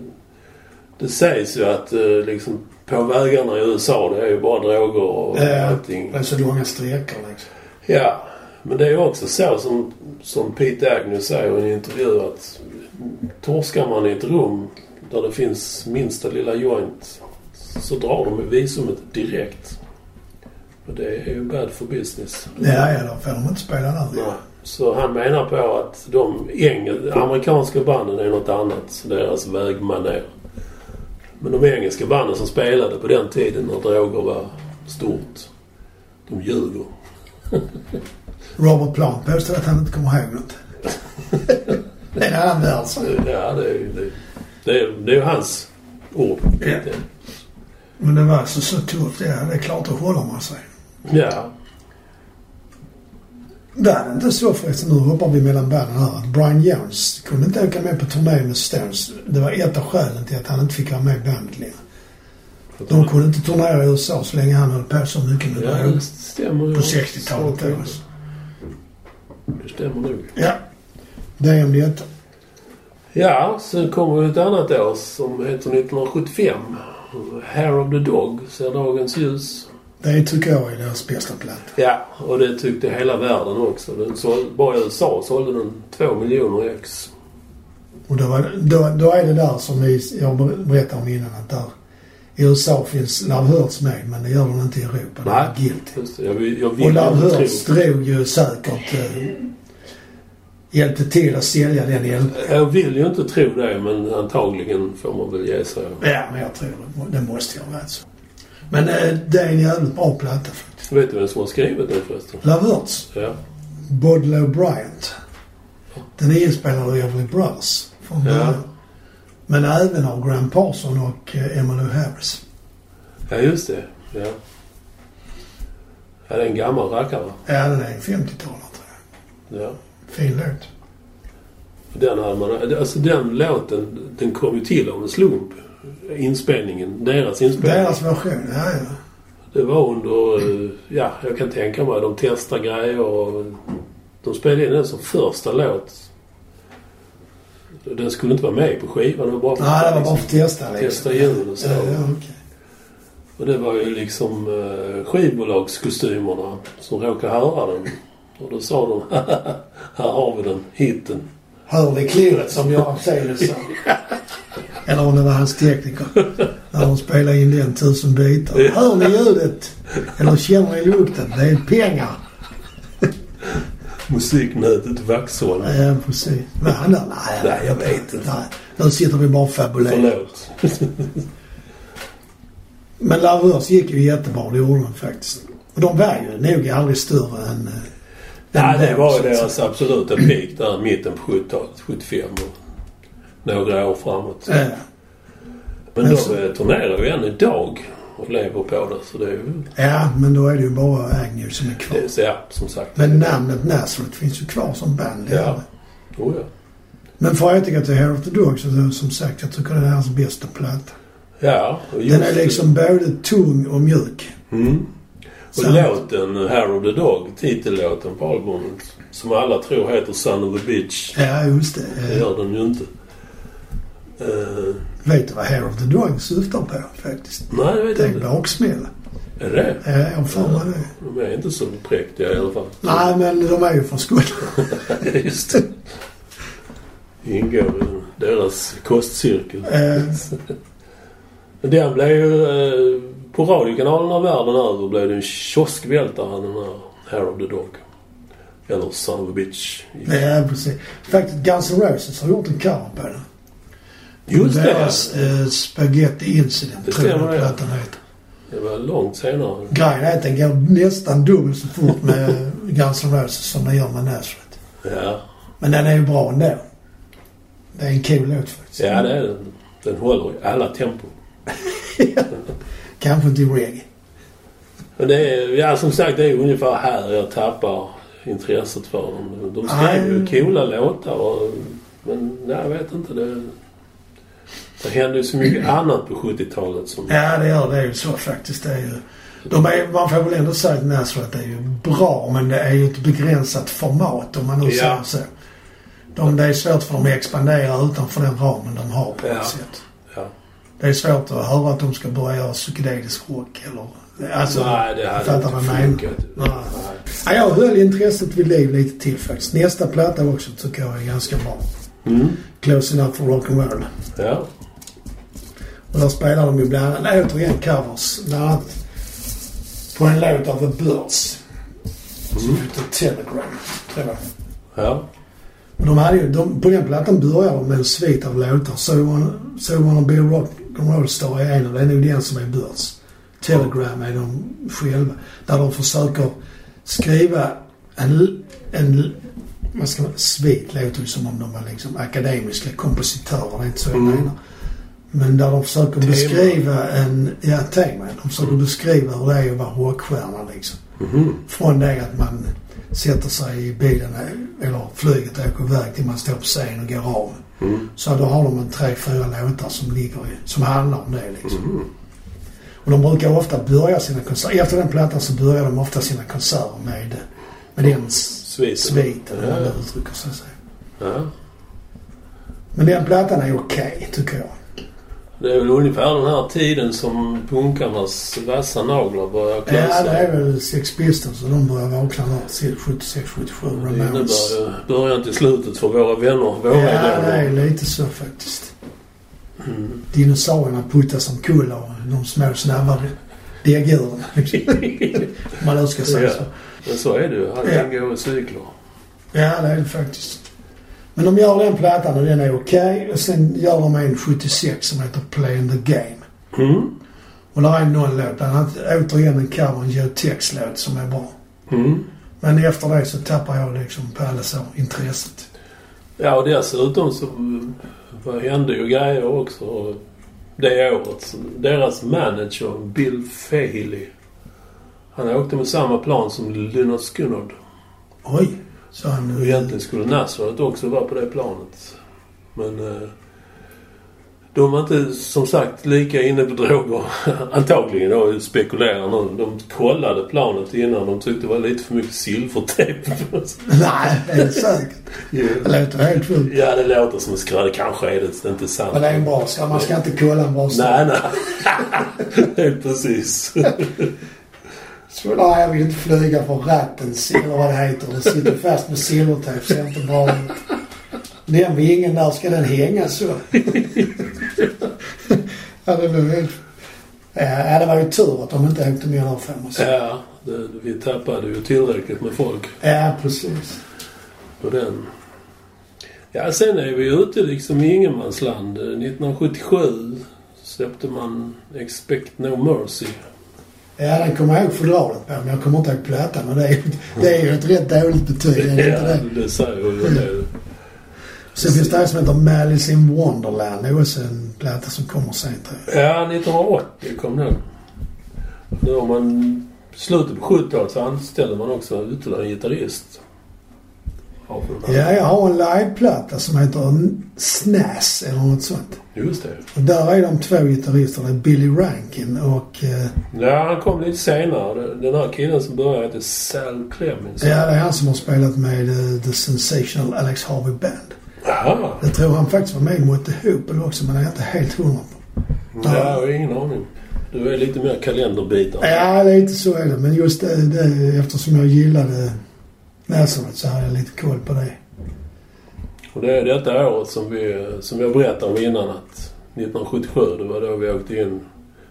det sägs ju att eh, liksom på vägarna i USA det är ju bara droger och
Ja.
allting.
det är så Alltså, långa sträckor liksom.
Ja, men det är ju också så som, som Pete Agnew säger i en intervju att torskar man i ett rum där det finns minsta lilla joint så drar de visumet direkt. Men det är ju bad for business.
Ja, ja, då får de inte spela där.
Nej. Så han menar på att de engel, amerikanska banden är något annat, så deras vägmanér. Men de engelska banden som spelade på den tiden när droger var stort, de ljuger.
Robert Plant påstår att han inte kommer ihåg
[laughs]
något. det är alltså. en annan värld. så.
Ja, det är ju det, det, är- det är ju hans ord.
Ja. Men det var alltså så tufft. Ja, det är klart, då håller man sig.
ja.
Det är inte så förresten, nu hoppar vi mellan banden här, att Brian Jones kunde inte åka med på turné med Stones. Det var ett av skälen till att han inte fick vara med i bandet längre. De kunde inte turnera i USA så länge han höll på så mycket med
Ja,
drog
det stämmer ju.
på 60-talet. då, alltså.
Det stämmer nog.
Ja, det är om detta.
Ja, sen kommer ju ett annat år som heter 1975. Hair of the Dog ser dagens ljus.
Det tycker jag är deras bästa platta.
Ja, och det tyckte hela världen också. Den sål, bara i USA sålde den två miljoner ex.
Och då, var, då, då är det där som vi, jag ber- berättade om innan att där i USA finns Love Hurts med men det gör den inte i Europa. Det är Guilty.
Just det, jag, vill- jag vill
Och Love
inte tro.
Hurts drog ju säkert eh, hjälpte till att sälja den hjälpen.
Jag vill ju inte tro det, men antagligen får man väl ge sig.
Ja, men jag tror det, må- det måste ju ha varit så. Men eh, det är en jävligt bra platta faktiskt.
Vet du vem som har skrivit den förresten?
Love Hurts,
Ja.
Bodlow Bryant. Den är inspelad av Everly Brothers från
Ja.
början. Men även av Graham Parson och eh, Emmylou Harris.
ja, just det. Ja. ja, det är en gammal rackare.
Ja, den är 50-talare tror jag.
Ja.
Fin låt.
Den hade man, alltså den låten, den kom ju till av en slump. Inspelningen, deras inspelning.
Deras alltså version, ja ja.
Det var under, eh, ja, jag kan tänka mig, de testar grejer och de spelade in den som första låt. Den skulle inte vara med på skivan, det var bara
Nej, det var bara för att testa liksom.
Testa ljuden och så.
Ja, ja, okej.
Och det var ju liksom eh, skivbolagskostymerna som råkade höra den. Och då sa de, [laughs] här har vi den, hitten.
Hör vi klirret som Göran Seele
[laughs]
sa? Eller om det var hans tekniker. När de spelade in den tusen bitar. Hör ni ljudet? Eller känner ni lukten? Det är pengar.
Musiknätet Vaxholm.
Ja, precis. Men han där? Nej,
Nej, jag vet inte.
Nej. Nu sitter vi bara och fabulerar.
Förlåt.
Men Larvörs gick ju jättebra. Det gjorde de faktiskt. Och de var ju nog aldrig större än... eh,
Ja, det
den
var ju
så att säga.
deras absoluta peak där i mitten på 70-talet, 75 och några år framåt.
Ja.
Men de
så-
eh, turnerar ju än idag och lever på det. Så det är ju...
Ja, men då är det ju bara Agnew som är kvar.
Det, så ja, som sagt.
Men namnet Nazareth finns ju kvar som band.
Ja. Oh, ja.
Men för jag tycker att det här of the Dog, så som sagt, jag tycker det är hans bästa platta.
ja och just,
Den är liksom både tung och mjuk.
Mm. Och
Sant.
låten Hair of the Dog, titellåten på albumet, som alla tror heter Son of a Bitch.
Ja, just det.
Det
Eh,
gör den ju inte. Eh,
Vet du vad Hair of the Dog syftar på faktiskt?
nej, jag vet
Det är en
inte.
baksmälla.
Är det?
Ja, jag har för mig det.
De är inte så präktiga i alla fall.
Nej, men de är ju från Skåne.
[laughs] Just det. Ingår i deras kostcirkel.
Eh,
Den blev ju... eh, På radiokanalerna världen över blev det en kioskvältare den här Hair of the Dog. Eller Son of a Bitch.
ja, precis. Faktiskt, Guns N' Roses har gjort en cover på den.
Just det!
Deras eh, Spaghetti Incident,
Det
tror jag
stämmer, ja.
plattan heter.
Det var långt senare.
Grejen är att den går nästan dubbelt så fort med [laughs] Guns N' Roses som den gör med Nazareth.
Ja,
Men den är ju bra ändå. Det är en kul låt faktiskt.
ja det är den. Den håller i alla tempo.
Kanske inte i reggae.
Men det är, ja som sagt, det är ungefär här jag tappar intresset för dem. De skrev ju
Nej.
coola låtar och, men nej, jag vet inte. Det, det hände ju
[clears throat]
så mycket annat på 70-talet som...
Ja, det gör det är ju så faktiskt. Det är ju, de är, man får väl ändå säga att Nazareth är ju bra, men det är ju ett begränsat format om man nu
Ja.
säger så. De, det är svårt för dem att expandera utanför den ramen de har på
Ja.
något sätt.
Ja.
Det är svårt att höra att de ska börja göra psykedelisk rock eller... Alltså,
nej, det hade
fattar vad jag
inte
menar.
funkat.
Nej. ja, jag höll intresset vid liv lite till faktiskt. Nästa platta också tycker jag är ganska bra.
Mm.
Close Enough for Rock'n'Roll.
Ja.
Och där spelar de ju bland annat återigen covers. Bland annat på en låt av The Birds. Som heter Telegram, tror jag.
Ja.
Och de hade ju, de, på den plattan börjar de med en svit av låtar. So You Wanna, so you wanna Be a Rock'n'Roll Star är en och det är nog den som är Birds. Telegram är de själva. Där de försöker skriva en, en vad ska man, svit låter ju som om de var liksom akademiska kompositörer. Det är inte så jag
Mm.
menar. Men där de försöker
Tema.
beskriva en, ja tema. De försöker beskriva hur det är att vara rockstjärna liksom.
Mhm.
Från det att man sätter sig i bilen eller flyget och åker iväg till man står på scen och går av.
Mm.
Så då har de en tre, fyra låtar som ligger i, som handlar om det liksom.
Mhm.
Och de brukar ofta börja sina konserter, efter den plattan så börjar de ofta sina konserter med, med den s-
Sviten.
sviten, eller hur
Ja.
man uttrycker sig. så.
ja.
Men den plattan är okej, tycker jag.
Det är väl ungefär den här tiden som punkarnas vassa naglar börjar
Ja, det
klösa.
är väl Sex Pistols och de börjar vakna där 76, 77,
Det innebär
Ramones.
ju början till slutet för våra vänner,
Ja,
våra
det
idoler.
är lite så faktiskt.
Mm.
Dinosaurierna puttas omkull av de små snabba
[laughs]
däggdjuren. Om man nu ska säga
Ja.
så.
Mm. [laughs] Men så är det ju. Allting går i cykler.
Ja, det är det faktiskt. Men de gör den plattan och den är okej. Och sen gör de en 76 som heter Play in the Game.
Mm.
Och där är någon låt, bland annat återigen en cover, en Joe Tex-låt som är bra.
Mm.
Men efter det så tappar jag liksom på alla så intresset.
Ja, och dessutom så vad hände ju grejer också det året. Deras manager, Bill Fahey, han åkte med samma plan som Lynyrd Skynyrd.
Oj, sa han
Och
nu.
egentligen skulle Nazareth också vara på det planet. Men eh, de var inte, som sagt, lika inne på droger. [laughs] Antagligen då, spekulerar någon. De kollade planet innan. De tyckte det var lite för mycket silvertejp.
[laughs]
[laughs]
Nej, det är det säkert. Det låter helt sjukt.
ja, det låter som en skröna. Kanske är det inte sant.
Men det är en bra sak. Man ska inte kolla en bra sak.
Nej, nej. [laughs] Helt precis.
Så där jag vill inte flyga för ratten, eller vad det heter. Det sitter fast med silvertejp, ser inte bra ut. Den vingen där, ska den hänga så? ja, det blev helt... Eh, Ja, det var ju tur att de inte åkte med där för mig.
Ja, det, vi tappade ju tillräckligt med folk
Ja, precis.
på den. Ja, sen är vi ute liksom i ingenmansland. 1977 släppte man Expect No Mercy.
Ja, den kommer jag ihåg fodralet på, men jag kommer inte ihåg plattan. Och det är, det är ju ett rätt dåligt betyg, är det inte det?
det säger ju en del.
Sen finns det en som heter Malice in Wonderland. Det är också en platta som kommer sent. tror jag.
Ja, 1980 kom den. Då har man... Slutet på 70-talet så anställde man också ytterligare en gitarrist. Ja, för den här-
Ja, jag har en liveplatta som heter Snass eller något sånt.
Just det.
Och där är de två gitarristerna, Billy Rankin och... Eh,
Ja, han kom lite senare. Den här killen som började hette Sal Clemens.
ja, det är han som har spelat med eh, The Sensational Alex Harvey Band.
Aha.
Jag tror han faktiskt var med i Mötte Hopel också, men det är jag inte helt hundra på.
Ja, jag har ingen aning. Du är lite mer kalenderbitare.
Ja, lite så är det. Men just det, det eftersom jag gillade Nazareth så hade jag lite koll på det.
Och det är detta året som, vi, som jag berättade om innan att 1977, det var då vi åkte in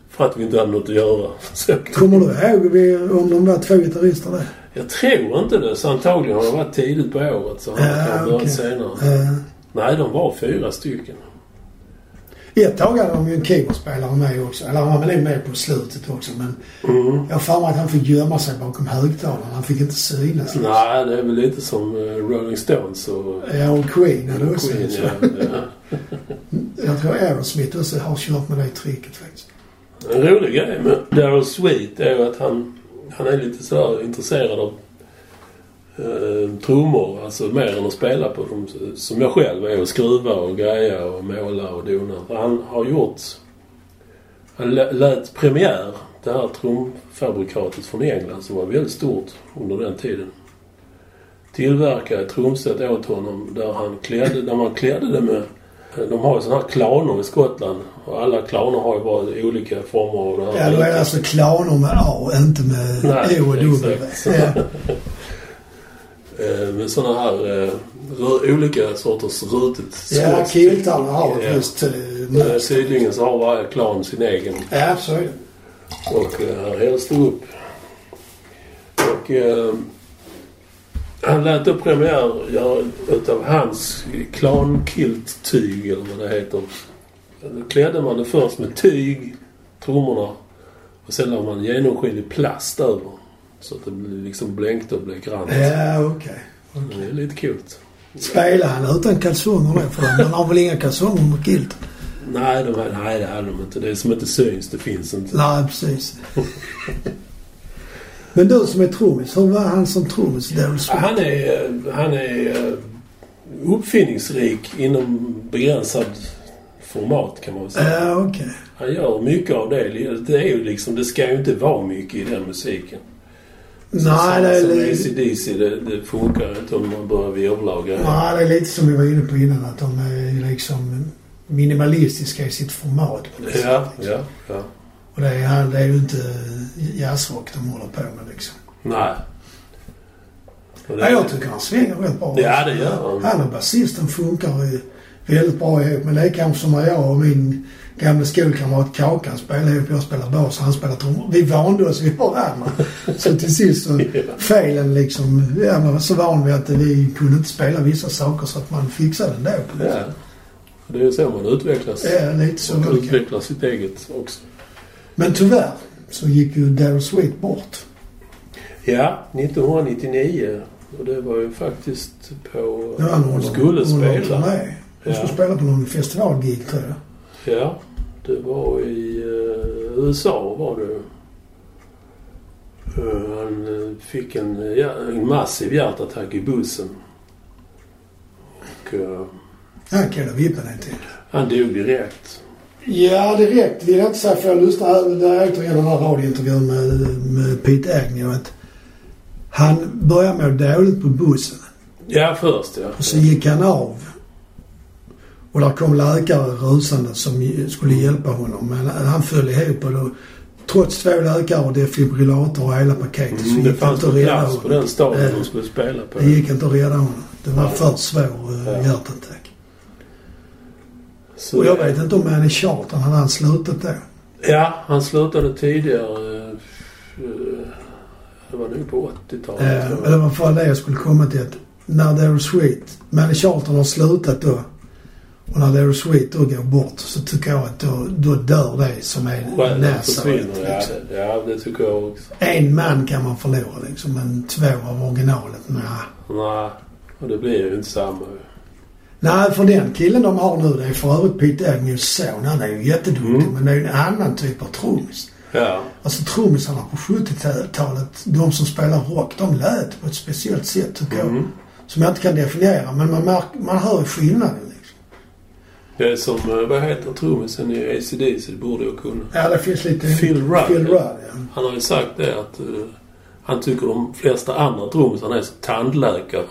för att vi inte hade något att göra. [laughs] Så,
Kommer du ihåg vi- om de var två gitarrister där?
jag tror inte det, så antagligen har det varit tidigt på året så han
Ja,
kan börja
okej.
senare.
Eh,
Nej, de var fyra stycken.
Ett tag hade de ju en keyboardspelare med också. Eller han var väl med på slutet också. Men
Mm.
jag har för mig att han fick gömma sig bakom högtalarna. Han fick inte synas.
Nej, det är väl lite som eh, Rolling Stones och
Ja, och Queen hade också
Queen.
så.
Ja, ja.
Jag tror Aerosmith också har kört med det tricket faktiskt.
En rolig grej med Daryl Sweet är ju att han, han är lite sådär intresserad av eh, trummor. Alltså mer än att spela på dem. Som jag själv är och skruva och greja och måla och dona. För Han har gjort... Han lä- lät premiär, det här trumfabrikatet från England som var väldigt stort under den tiden. Tillverka ett trumset åt honom där han klädde, där man klädde det med de har ju sådana här klaner i Skottland. Och alla klaner har ju bara olika former av det
Ja,
här.
då är det alltså klaner med A, inte med
Nej,
O och W.
exakt.
Ja.
Eh, Med sådana här eh, rö- olika sorters rutet
Ja,
skott.
kiltarna har ett
Ja.
visst eh,
Eh,
mönster.
Tydligen så har varje klan sin egen.
Ja, så är det.
Och eh, här hälls det upp Och eh, han lät då premiär göra utav hans klankilttyg eller vad det heter. Då klädde man det först med tyg, trummorna. Och sen la man genomskinlig plast över. Så att det blev liksom blänkte och blev grant.
Ja, okej.
Det är lite kul.
Spelar han utan kalsonger då? För han har väl inga kalsonger med kilt?
Nej, de här, nej, det hade de inte. Det som inte syns, det finns inte.
Nej, precis. Men du som är trummis, hur var han som trummis, Daryl Swift?
Han är, eh, han är eh, uppfinningsrik inom begränsad format kan man väl säga.
Ja, okej.
Han gör mycket av det. Det, är ju liksom, det ska ju inte vara mycket i den musiken.
Nej, det är
Som
lite...
AC/DC, det, det funkar ju inte om man börjar virvla och grejer.
Nej, det är lite som vi var inne på innan att de är liksom minimalistiska i sitt format. på det
Ja,
sättet.
ja, ja.
Och det är, han- det är ju inte jazzrock de håller på med liksom.
Nej. Och det-
Ja, jag tycker han svänger rätt bra.
Ja, det gör han.
Han och basisten funkar ju väldigt bra ihop. Men det är kanske som när jag och min gamla skolkamrat Kakan spelar ihop. Jag spelar bas och han spelar trummor. Vi vande oss vid varandra. Så till sist
[laughs]
så felen liksom. Ja, man var så van vid att vi kunde inte spela vissa saker så att man fixade det ändå.
ja. Det är ju så man utvecklas.
Ja, lite så.
Och
var det kanske.
utvecklar sitt eget också.
Men tyvärr så gick ju Daryl Sweet bort.
Ja, 1999. Och det var ju faktiskt på...
Det var när
hon skulle
hon var
spela.
turné. Hon skulle
Ja.
spela på någon festivalgig tror jag.
Ja, det var i eh, USA var det. Eh, han eh, fick en, eh, ja, en massiv hjärtattack i bussen. Och, eh,
Han kan jag vippa den till.
han dog direkt.
Ja, direkt vill jag inte säga för jag lyssnade där återigen den här radiointervjun med, med Pete Agnew att han började må dåligt på bussen
Ja, först ja.
och så gick han av. Och där kom läkare rusande som skulle hjälpa honom men han föll ihop och då, trots två läkare och defibrillator och hela paketet så
Mm,
gick
det
det,
fanns
inte
på
att rädda
plats på
honom.
den stadion
Eh,
de skulle spela på.
Det gick inte att rädda honom. Det var för svår eh,
Ja.
hjärtattack.
Så-
Och jag vet inte om han är charter, hade han slutat då?
Ja, han slutade tidigare. eh, eh, Det var nog på 80-talet.
Eh,
tror jag.
eller vad fan det är jag skulle komma till. Att när Daryl Sweet, Manny Charlton har slutat då och när Daryl Sweet då går bort så tycker jag att då, då dör det som är
Själen försvinner,
Nazareth.
ja.
Liksom.
ja. det tycker jag också.
En man kan man förlora liksom, men två av originalet, nej.
Nej, och det blir ju inte samma.
Nej, för den killen de har nu, det är för övrigt Pete Agnews son. Han är ju jätteduktig,
Mm.
men det är ju en annan typ av trummis.
Ja,
Alltså trummisarna på 70-talet, de som spelar rock, de lät på ett speciellt sätt tycker jag. Som jag inte kan definiera, men man, märk, man hör skillnaden. Liksom.
det är som, eh, vad heter trummisen i ACDC? Det borde jag kunna.
Ja, det finns lite...
Phil Rudd.
Phil Rudd, ja.
Han har ju sagt det att eh, han tycker de flesta andra trummisarna är som tandläkare.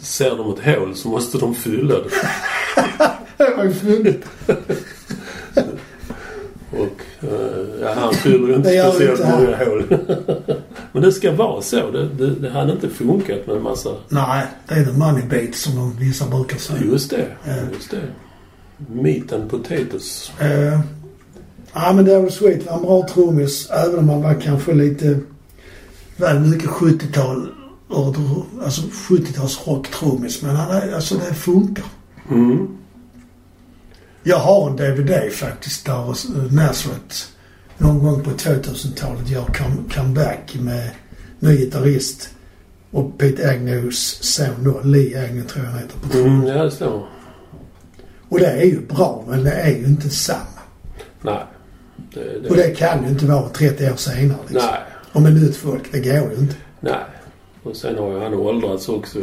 Ser de ett hål så måste de fylla det.
Det var ju fyndigt.
Och eh, ja, han fyller ju inte
Det gör vi
speciellt
inte här.
många hål. [laughs] Men det ska vara så. Det, det, det hade inte funkat med en massa...
Nej, det är the money beat som de vissa brukar säga.
Just det,
Ja.
just det. Meat and potatoes.
Eh, ja, men Daryl Sweet var en bra trummis, även om han var kanske lite väl mycket 70-tal. Alltså 70-tals rocktrummis, men han är, alltså det funkar.
Mm.
Jag har en DVD faktiskt där eh, Nazareth någon gång på 2000-talet gör come- comeback med ny gitarrist och Pete Agnews son då, Lee Agnew tror jag han heter på trummor.
Mm, ja, det stämmer.
Och det är ju bra men det är ju inte samma.
Nej. Det, det,
Och det kan ju inte vara 30 år senare liksom.
nej,
Och med nytt folk, det går ju inte.
nej. Och sen har ju han åldrats också.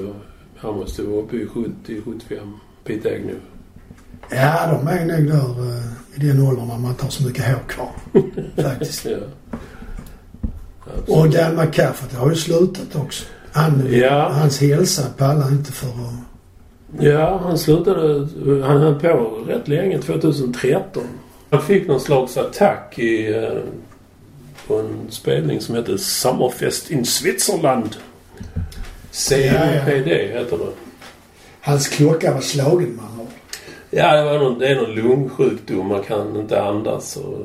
Han måste vara uppe i 70-75. Pete Agnew.
Ja, de är nog där eh, i den åldern när man inte har så mycket hår
[laughs]
kvar. faktiskt.
Ja. Alltså.
Och Dan McCaffrey har ju slutat också. Han,
Ja.
Hans hälsa pallar inte för att
Ja, han slutade... Han höll på rätt länge, 2013. Han fick någon slags attack i, eh, på en spelning som hette Summerfest in Switzerland. COPD heter det.
Hans klocka var slagen man har.
Ja, det, var någon, det är någon lungsjukdom. Man kan inte andas. Och,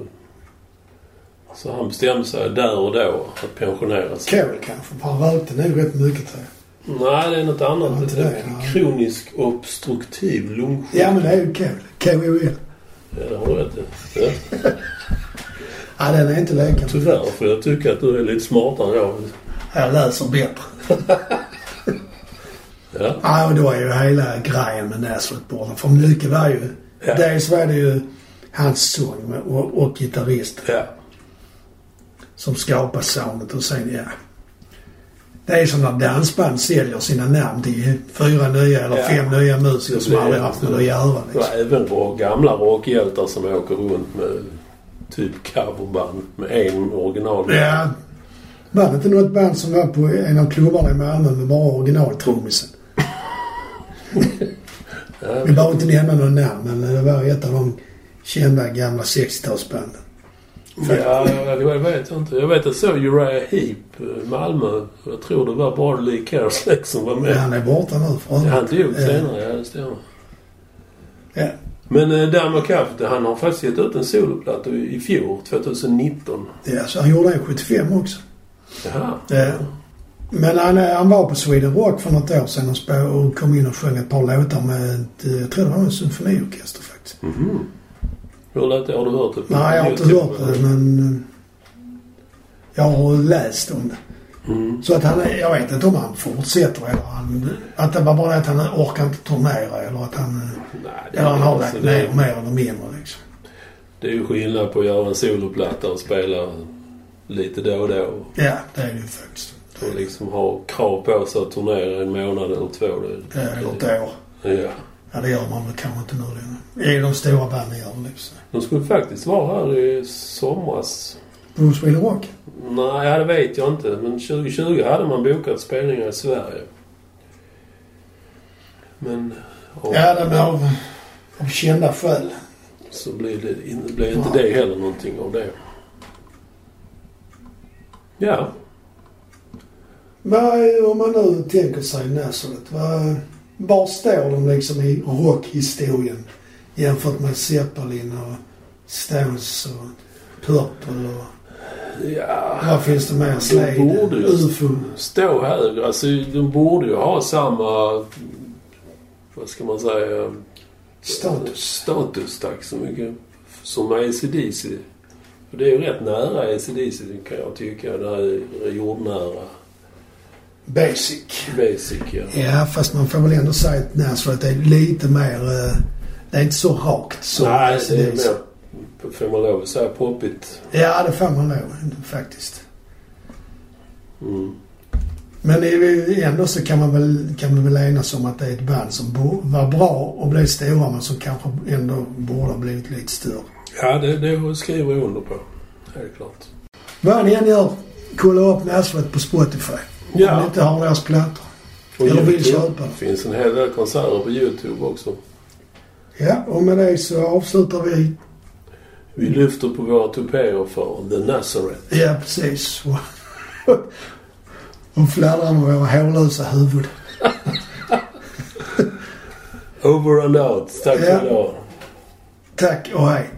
Så han bestämde sig där och då att pensionera sig.
Cole kanske, för han rökte nog rätt mycket tror jag.
Nej, det är något
Ja,
annat.
inte
Det
det,
är
ja.
kronisk obstruktiv lungsjukdom.
Ja men det är ju Cole. KOL.
Ja, det har du rätt i. Ja,
Ja den är inte läkaren.
Tyvärr får jag tycka att du är lite smartare än jag.
Jag läser bättre.
Ja.
Ja och då är ju hela grejen med Näslund borta. För Lycke var ju...
Ja.
Dels var det ju hans sång och, och gitarrist
ja.
som skapar soundet och sen ja. Det är som när dansband säljer sina namn till fyra nya eller
Ja.
fem nya musiker som
Det är
aldrig
det.
haft med att göra.
Det var
Liksom.
även våra gamla rockhjältar som åker runt med typ coverband med en original.
Ja. Var det inte något band som var på en av klubbarna i Malmö med bara originaltrummisen? Vi behöver inte nämna någon namn men det var ett av de kända gamla 60-talsbanden.
Ja, jag jag vet inte. Jag vet att så Uriah Heep, eh, Malmö. Jag tror det var bara Lee Kerslake som var med.
Han är borta nu för övrigt. Eh,
Han dog
Ja.
senare, ja det stämmer.
Ja.
Men eh, Damo Kafte, han har faktiskt gett ut en soloplatta i i fjol, 2019.
Ja, så han gjorde en 75 också.
Jaha.
Ja. Men han, eh, han var på Sweden Rock för något år sedan och, spå, och kom in och sjöng ett par låtar med, ett, eh, jag tror det var en symfoniorkester faktiskt.
Mhm. Hur lät det? Har du hört det? på
Nej, jag har inte
YouTube?
hört det men eh, jag har läst om det.
Mm.
Så att han, är- jag vet inte om han fortsätter eller han, att det var bara det att han orkar inte turnera eller att han, eh,
Nej, det,
eller han har
alltså,
lagt
det,
ner mer eller mindre liksom.
det är ju skillnad på att göra en soloplatta och spela lite då och då.
Ja, det är det ju faktiskt.
Och liksom ha krav på sig att turnera en månad eller två. Det,
Det är Eller ett år.
Ja.
Ja, det gör man väl kanske inte nu längre. Det är de stora banden gör det liksom.
De skulle faktiskt vara här i somras.
På Sweden Rock?
Nej, ja, det vet jag inte. Men 2020 hade man bokat spelningar i Sverige. Men... ja,
Ja, det blir av, av kända skäl.
Så blir det in- blir inte det heller någonting av det. Ja.
Vad, är- om man nu tänker sig Nazareth, vad, var står de liksom i rockhistorien jämfört med Zeppelin och Stones och Purple och...
Ja.
Vad finns det mer?
De
Slade?
borde ju
UFO?
stå högre. Alltså, de borde ju ha samma... Vad ska man säga?
Status?
Status, tack så mycket. Som ACDC. För det är ju rätt nära ACDC kan jag tycka. Det här är jordnära.
Basic?
Basic, ja.
Ja, fast man får väl ändå säga att Nazareth är lite mer... eh, Det är inte så rakt som
Nej, det är
AC/DC.
mer, får man lov att säga, poppigt.
Ja, det får man nog faktiskt.
Mm.
Men det är ju- ändå så kan man väl, kan man väl enas om att det är ett band som bo, var bra och blev stora men som kanske ändå borde ha blivit lite större.
Ja, det, det skriver jag under på. Helt klart.
Vad ni än gör, kolla upp Näsvet på Spotify. Om ni
Ja.
inte har deras plattor.
Och
Eller vill
YouTube.
köpa.
Det finns en hel del konserter på Youtube också.
Ja, och med det så avslutar vi.
Vi lyfter på våra tupéer för The Nazareth.
Ja, precis. [laughs] Och- Och fladdrar med våra hårlösa huvud.
Over and out. Tack för
Ja.
idag.
Tack och hej.